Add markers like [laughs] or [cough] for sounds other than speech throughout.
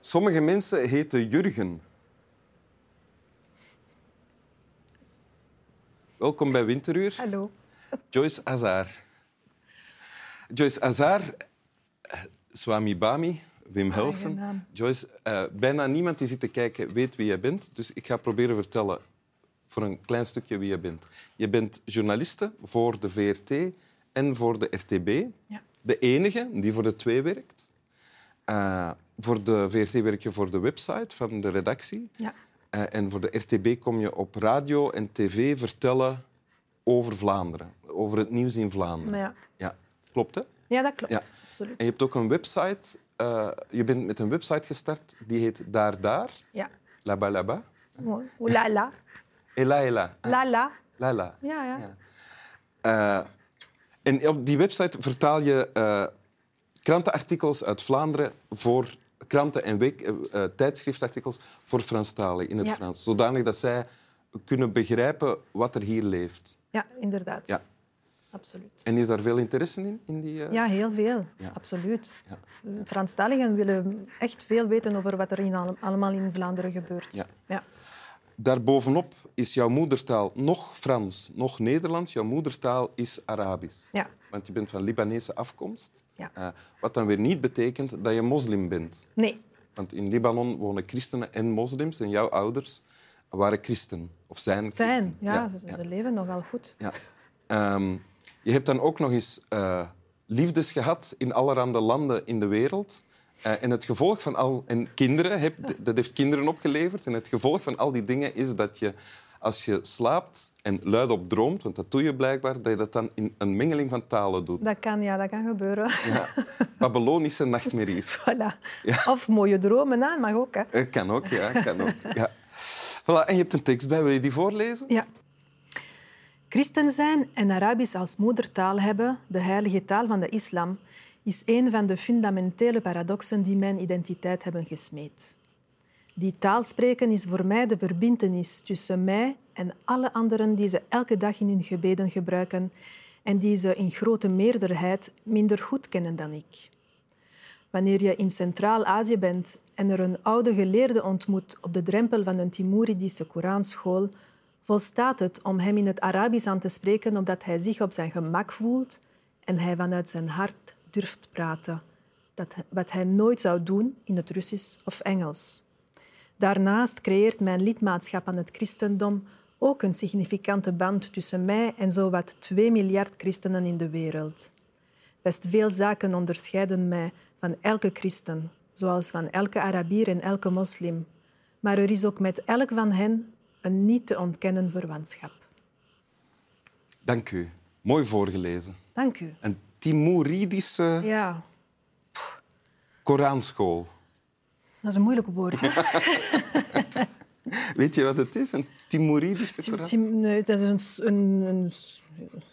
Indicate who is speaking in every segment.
Speaker 1: Sommige mensen heten Jurgen. Welkom bij Winteruur,
Speaker 2: Hallo.
Speaker 1: Joyce Azar. Joyce Azar, eh, Swami Bami, Wim Helsen.
Speaker 2: naam.
Speaker 1: Joyce, eh, bijna niemand die zit te kijken weet wie jij bent. Dus ik ga proberen vertellen voor een klein stukje wie je bent. Je bent journaliste voor de VRT en voor de RTB.
Speaker 2: Ja.
Speaker 1: De enige die voor de twee werkt. Eh, voor de VRT werk je voor de website van de redactie.
Speaker 2: Ja.
Speaker 1: Eh, en voor de RTB kom je op radio en tv vertellen over Vlaanderen. Over het nieuws in Vlaanderen.
Speaker 2: Nou ja.
Speaker 1: Ja, klopt hè?
Speaker 2: ja, dat klopt.
Speaker 1: Ja.
Speaker 2: Absoluut.
Speaker 1: En je hebt ook een website. eh, je bent met een website gestart die heet Daar Daar,
Speaker 2: Ja.
Speaker 1: Laba Laba.
Speaker 2: Mooi. Oeh, La la.
Speaker 1: Ela Ela. Ah,
Speaker 2: La la.
Speaker 1: La La.
Speaker 2: Ja, ja.
Speaker 1: Ja. Eh, en op die website vertaal je eh, krantenartikels uit Vlaanderen voor kranten en week, eh, eh, tijdschriftartikels voor Franstalen in het
Speaker 2: Ja.
Speaker 1: Frans. Zodanig dat zij kunnen begrijpen wat er hier leeft.
Speaker 2: Ja, inderdaad.
Speaker 1: Ja.
Speaker 2: Absoluut.
Speaker 1: En is daar veel interesse in? in die, eh?
Speaker 2: Ja, heel veel.
Speaker 1: Ja.
Speaker 2: Absoluut.
Speaker 1: Ja.
Speaker 2: Franstaligen willen echt veel weten over wat er in allem- allemaal in Vlaanderen gebeurt.
Speaker 1: Ja.
Speaker 2: Ja.
Speaker 1: Daarbovenop is jouw moedertaal nog Frans, nog Nederlands. Jouw moedertaal is Arabisch.
Speaker 2: Ja.
Speaker 1: Want je bent van Libanese afkomst.
Speaker 2: Ja.
Speaker 1: Eh, wat dan weer niet betekent dat je moslim bent.
Speaker 2: Nee.
Speaker 1: Want in Libanon wonen christenen en moslims. En jouw ouders waren christen. Of zijn christen.
Speaker 2: Zijn. Ja, ze,
Speaker 1: ja,
Speaker 2: ze leven nogal goed.
Speaker 1: ja. Ehm, je hebt dan ook nog eens eh, liefdes gehad in allerhande landen in de wereld. Eh, en het gevolg van al... En kinderen, heb, dat heeft kinderen opgeleverd. En het gevolg van al die dingen is dat je... Als je slaapt en luidop droomt, want dat doe je blijkbaar, dat je dat dan in een mengeling van talen doet.
Speaker 2: Dat kan, ja, dat kan gebeuren. [laughs]
Speaker 1: Ja. Babylonische nachtmerries.
Speaker 2: Voilà. Of mooie dromen aan, mag ook. Hè.
Speaker 1: Eh, Kan ook, ja. Kan ook, ja. Voilà, en je hebt een tekst bij. Wil je die voorlezen?
Speaker 2: Ja. Christen zijn en Arabisch als moedertaal hebben, de heilige taal van de islam, is een van de fundamentele paradoxen die mijn identiteit hebben gesmeed. Die taal spreken is voor mij de verbintenis tussen mij en alle anderen die ze elke dag in hun gebeden gebruiken en die ze in grote meerderheid minder goed kennen dan ik. Wanneer je in Centraal-Azië bent en er een oude geleerde ontmoet op de drempel van een Timuridische Koranschool, volstaat het om hem in het Arabisch aan te spreken opdat hij zich op zijn gemak voelt en hij vanuit zijn hart durft praten, dat, wat hij nooit zou doen in het Russisch of Engels. Daarnaast creëert mijn lidmaatschap aan het christendom ook een significante band tussen mij en zowat 2 miljard christenen in de wereld. Best veel zaken onderscheiden mij van elke christen, zoals van elke Arabier en elke moslim. Maar er is ook met elk van hen een niet te ontkennen verwantschap.
Speaker 1: Dank u. Mooi voorgelezen.
Speaker 2: Dank u.
Speaker 1: Een Timuridische
Speaker 2: Ja,
Speaker 1: Koranschool.
Speaker 2: dat is een moeilijk woord. hè?
Speaker 1: Weet je wat het is? Een Timuridische
Speaker 2: Tim-
Speaker 1: Koranschool?
Speaker 2: tim- nee, Dat is een, s- een, een, s-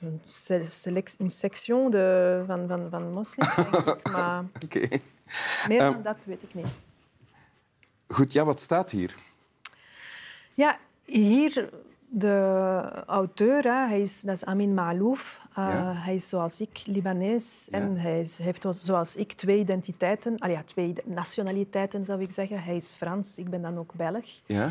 Speaker 2: een, se- select- een section de, van, van, van moslims, denk ik. Maar
Speaker 1: Oké.
Speaker 2: meer dan dat weet ik niet.
Speaker 1: Goed, ja, wat staat hier?
Speaker 2: Ja, hier de auteur, hè, hij is, dat is Amin Malouf. Uh,
Speaker 1: Ja.
Speaker 2: Hij is zoals ik Libanees
Speaker 1: Ja.
Speaker 2: en hij is- heeft als- zoals ik twee identiteiten, al ja, twee nationaliteiten zou ik zeggen. Hij is Frans, ik ben dan ook Belg.
Speaker 1: Ja?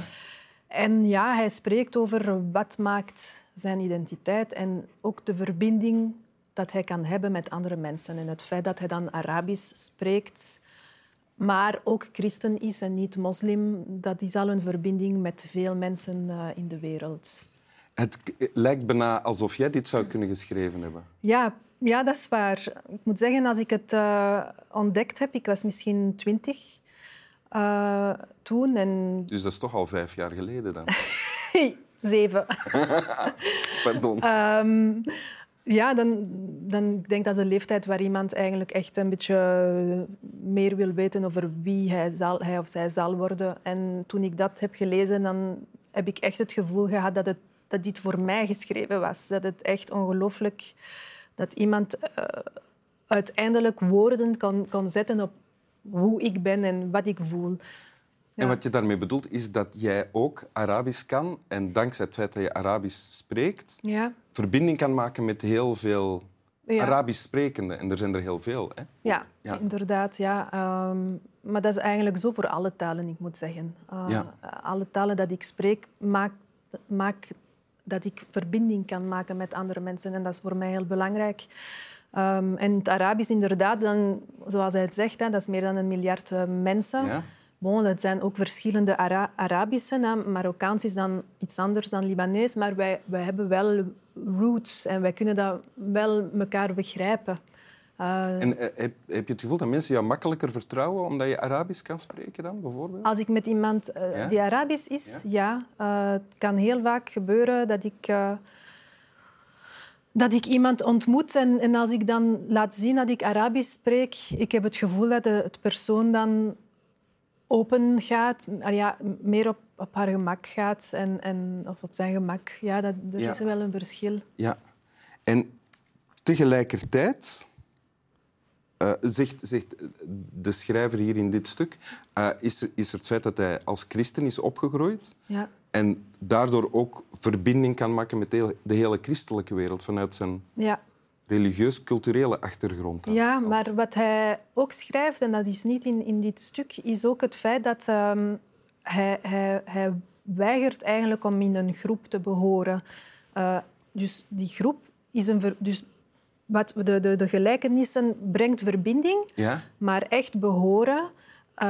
Speaker 2: En ja, hij spreekt over wat maakt zijn identiteit en ook de verbinding dat hij kan hebben met andere mensen. En het feit dat hij dan Arabisch spreekt, maar ook christen is en niet moslim, dat is al een verbinding met veel mensen eh, in de wereld.
Speaker 1: Het k- eh, lijkt bijna alsof jij dit zou kunnen geschreven hebben.
Speaker 2: Ja, ja, dat is waar. Ik moet zeggen, als ik het eh, ontdekt heb, ik was misschien twintig eh, toen en [laughs]
Speaker 1: Dus dat is toch al vijf jaar geleden dan.
Speaker 2: zeven.
Speaker 1: Pardon.
Speaker 2: Ehm, ja, dan, dan ik denk dat is een leeftijd waar iemand eigenlijk echt een beetje eh, meer wil weten over wie hij, zal, hij of zij zal worden. En toen ik dat heb gelezen, dan heb ik echt het gevoel gehad dat, het, dat dit voor mij geschreven was. Dat het echt ongelooflijk dat iemand eh, uiteindelijk woorden kan, kan zetten op hoe ik ben en wat ik voel.
Speaker 1: En
Speaker 2: ja.
Speaker 1: wat je daarmee bedoelt is dat jij ook Arabisch kan. En dankzij het feit dat je Arabisch spreekt,
Speaker 2: Ja,
Speaker 1: verbinding kan maken met heel veel
Speaker 2: Ja.
Speaker 1: Arabisch sprekende. En er zijn er heel veel. Hè?
Speaker 2: Ja,
Speaker 1: Ja.
Speaker 2: inderdaad. Ja. Ehm, maar dat is eigenlijk zo voor alle talen, ik moet zeggen. Eh,
Speaker 1: Ja.
Speaker 2: Alle talen dat ik spreek, maak, maak dat ik verbinding kan maken met andere mensen. En dat is voor mij heel belangrijk. Ehm, en het Arabisch inderdaad, dan, zoals hij het zegt, hè, dat is meer dan een miljard eh, mensen.
Speaker 1: Ja.
Speaker 2: Bon, dat zijn ook verschillende Ara- Arabische. Hè. Marokkaans is dan iets anders dan Libanees, maar wij, wij hebben wel roots en wij kunnen dat wel elkaar begrijpen. Eh,
Speaker 1: En eh, heb, heb je het gevoel dat mensen jou makkelijker vertrouwen omdat je Arabisch kan spreken dan, bijvoorbeeld?
Speaker 2: Als ik met iemand eh,
Speaker 1: Ja?
Speaker 2: die Arabisch is, ja. Eh, het kan heel vaak gebeuren dat ik, eh, dat ik iemand ontmoet en, en als ik dan laat zien dat ik Arabisch spreek, ik heb het gevoel dat de het persoon dan open gaat, ah ja, m- meer op, op haar gemak gaat en, en, of op zijn gemak. Ja, dat, er
Speaker 1: Ja.
Speaker 2: is wel een verschil.
Speaker 1: Ja. En tegelijkertijd eh, zegt, zegt de schrijver hier in dit stuk, eh, is, er, is er het feit dat hij als christen is opgegroeid
Speaker 2: Ja.
Speaker 1: en daardoor ook verbinding kan maken met de hele, de hele christelijke wereld vanuit zijn
Speaker 2: Ja.
Speaker 1: religieus-culturele achtergrond. dan.
Speaker 2: Ja, maar wat hij ook schrijft, en dat is niet in, in dit stuk, is ook het feit dat ehm, hij, hij, hij weigert eigenlijk om in een groep te behoren. Eh, dus die groep is een... ver- dus wat we de, de, de gelijkenissen brengt verbinding,
Speaker 1: Ja?
Speaker 2: maar echt behoren eh,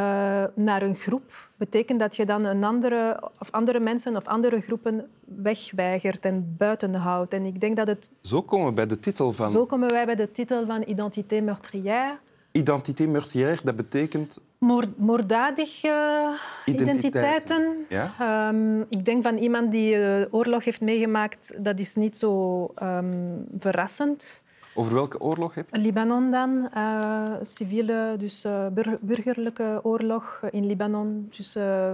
Speaker 2: naar een groep betekent dat je dan een andere, of andere mensen of andere groepen wegweigert en buiten houdt. En ik denk dat het...
Speaker 1: Zo komen we bij de titel van
Speaker 2: Zo komen wij bij de titel van Identité meurtrière.
Speaker 1: Identité meurtrière. Dat betekent...
Speaker 2: Moor- moorddadige eh,
Speaker 1: Identiteiten.
Speaker 2: identiteiten.
Speaker 1: Ja?
Speaker 2: Ehm, ik denk van iemand die eh, oorlog heeft meegemaakt, dat is niet zo ehm, verrassend.
Speaker 1: Over welke oorlog heb je?
Speaker 2: Libanon dan, eh, civiele, dus eh, bur- burgerlijke oorlog in Libanon. Dus eh,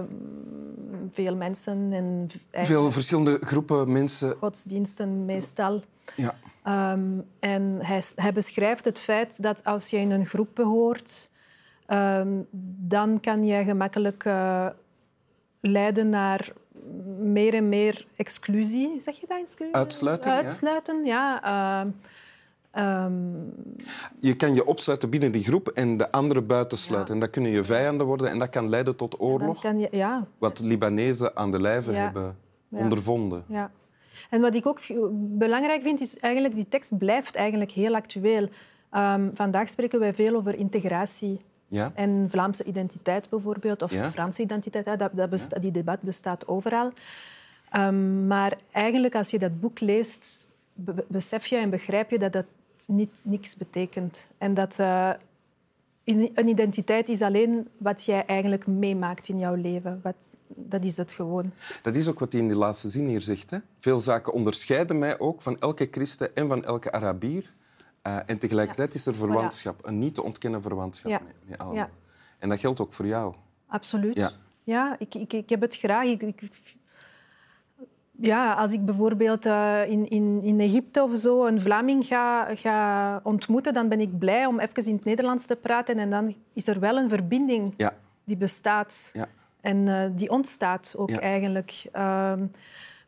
Speaker 2: veel mensen en v- eigen
Speaker 1: Veel verschillende groepen mensen.
Speaker 2: godsdiensten meestal.
Speaker 1: Ja.
Speaker 2: Ehm, en hij, s- hij beschrijft het feit dat als je in een groep behoort, ehm, dan kan je gemakkelijk eh, leiden naar meer en meer exclusie. Zeg je dat? Exclusie?
Speaker 1: Uitsluiting, ja.
Speaker 2: Uitsluiten, ja. Ehm, ehm,
Speaker 1: Je kan je opsluiten binnen die groep en de anderen buitensluiten.
Speaker 2: Ja.
Speaker 1: En dat kunnen je vijanden worden en dat kan leiden tot
Speaker 2: dan
Speaker 1: oorlog.
Speaker 2: kan je, ja,
Speaker 1: Wat Libanezen aan de lijve
Speaker 2: Ja.
Speaker 1: hebben
Speaker 2: Ja.
Speaker 1: ondervonden.
Speaker 2: Ja. En wat ik ook v- belangrijk vind, is eigenlijk die tekst blijft eigenlijk heel actueel. Ehm, vandaag spreken wij veel over integratie
Speaker 1: Ja?
Speaker 2: en Vlaamse identiteit bijvoorbeeld, of
Speaker 1: Ja.
Speaker 2: Franse identiteit. hè, Dat, dat besta- Die debat bestaat overal. Ehm, maar eigenlijk als je dat boek leest, be- be- besef je en begrijp je dat dat niet, niks betekent. En dat eh, in- een identiteit is alleen wat jij eigenlijk meemaakt in jouw leven. Wat, dat is het gewoon.
Speaker 1: Dat is ook wat hij in die laatste zin hier zegt. Hè? Veel zaken onderscheiden mij ook van elke christen en van elke Arabier. Eh, en tegelijkertijd is er verwantschap, een niet te ontkennen verwantschap.
Speaker 2: Ja.
Speaker 1: mee- mee allemaal.
Speaker 2: Ja.
Speaker 1: En dat geldt ook voor jou.
Speaker 2: Absoluut.
Speaker 1: Ja.
Speaker 2: Ja, ik, ik, ik heb het graag. Ik, ik, ja, als ik bijvoorbeeld eh, in, in, in Egypte of zo een Vlaming ga, ga ontmoeten, dan ben ik blij om even in het Nederlands te praten. En dan is er wel een verbinding
Speaker 1: Ja,
Speaker 2: die bestaat
Speaker 1: Ja.
Speaker 2: en eh, die ontstaat ook
Speaker 1: Ja.
Speaker 2: eigenlijk. Ehm,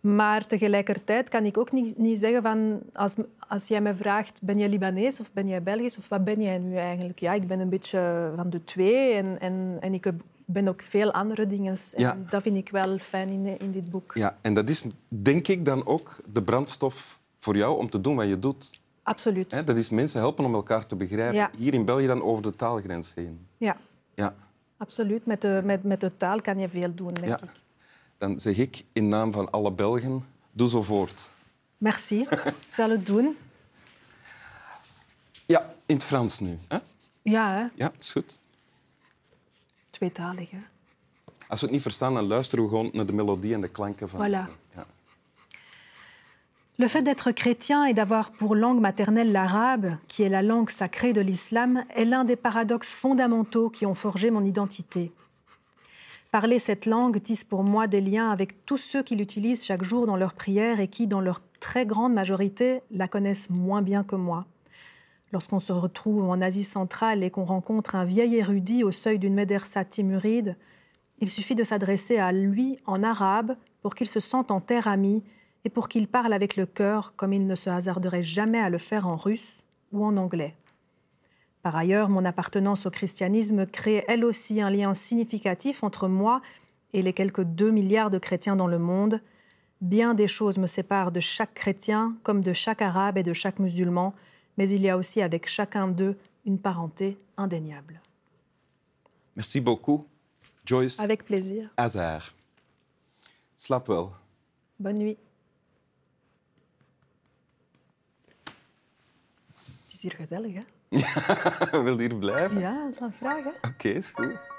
Speaker 2: maar tegelijkertijd kan ik ook niet, niet zeggen van als, als jij me vraagt ben jij Libanees of ben jij Belgisch of wat ben jij nu eigenlijk? Ja, ik ben een beetje van de twee en, en, en ik heb- ben ook veel andere dingen.
Speaker 1: Ja.
Speaker 2: En dat vind ik wel fijn in, in dit boek.
Speaker 1: ja, en dat is denk ik dan ook de brandstof voor jou om te doen wat je doet.
Speaker 2: Absoluut.
Speaker 1: Hè? Dat is mensen helpen om elkaar te begrijpen.
Speaker 2: Ja.
Speaker 1: Hier in België dan over de taalgrens heen.
Speaker 2: Ja,
Speaker 1: Ja.
Speaker 2: absoluut. Met de, met, met de taal kan je veel doen, denk
Speaker 1: Ja.
Speaker 2: ik.
Speaker 1: Dan zeg ik in naam van alle Belgen, doe zo voort.
Speaker 2: Merci. ik zal het doen.
Speaker 1: Ja, in het Frans nu. Hè?
Speaker 2: Ja, hè?
Speaker 1: Ja, is goed.
Speaker 2: tweetalig. Hè?
Speaker 1: Als we het niet verstaan, dan luisteren we gewoon naar de melodie en de klanken van.
Speaker 2: Voilà.
Speaker 1: Ja.
Speaker 2: Le fait d'être chrétien et d'avoir pour langue maternelle l'arabe, qui est la langue sacrée de l'islam, est l'un des paradoxes fondamentaux qui ont forgé mon identité. Parler cette langue tisse pour moi des liens avec tous ceux qui l'utilisent chaque jour dans leurs prières et qui, dans leur très grande majorité, la connaissent moins bien que moi. Lorsqu'on se retrouve en Asie centrale et qu'on rencontre un vieil érudit au seuil d'une médersa timuride, il suffit de s'adresser à lui en arabe pour qu'il se sente en terre amie et pour qu'il parle avec le cœur comme il ne se hasarderait jamais à le faire en russe, ou en anglais. Par ailleurs, mon appartenance au christianisme crée elle aussi un lien significatif entre moi et les quelques 2 milliards de chrétiens dans le monde. Bien des choses me séparent de chaque chrétien, comme de chaque arabe et de chaque musulman, mais il y a aussi avec chacun d'eux une parenté indéniable.
Speaker 1: Merci beaucoup, Joyce
Speaker 2: Avec plaisir.
Speaker 1: Azar. Slaap wel. [laughs]
Speaker 2: Bonne nuit. Het is hier gezellig, hè?
Speaker 1: Wil je hier blijven?
Speaker 2: Ja, dat is wel graag, hè?
Speaker 1: Oké, is goed.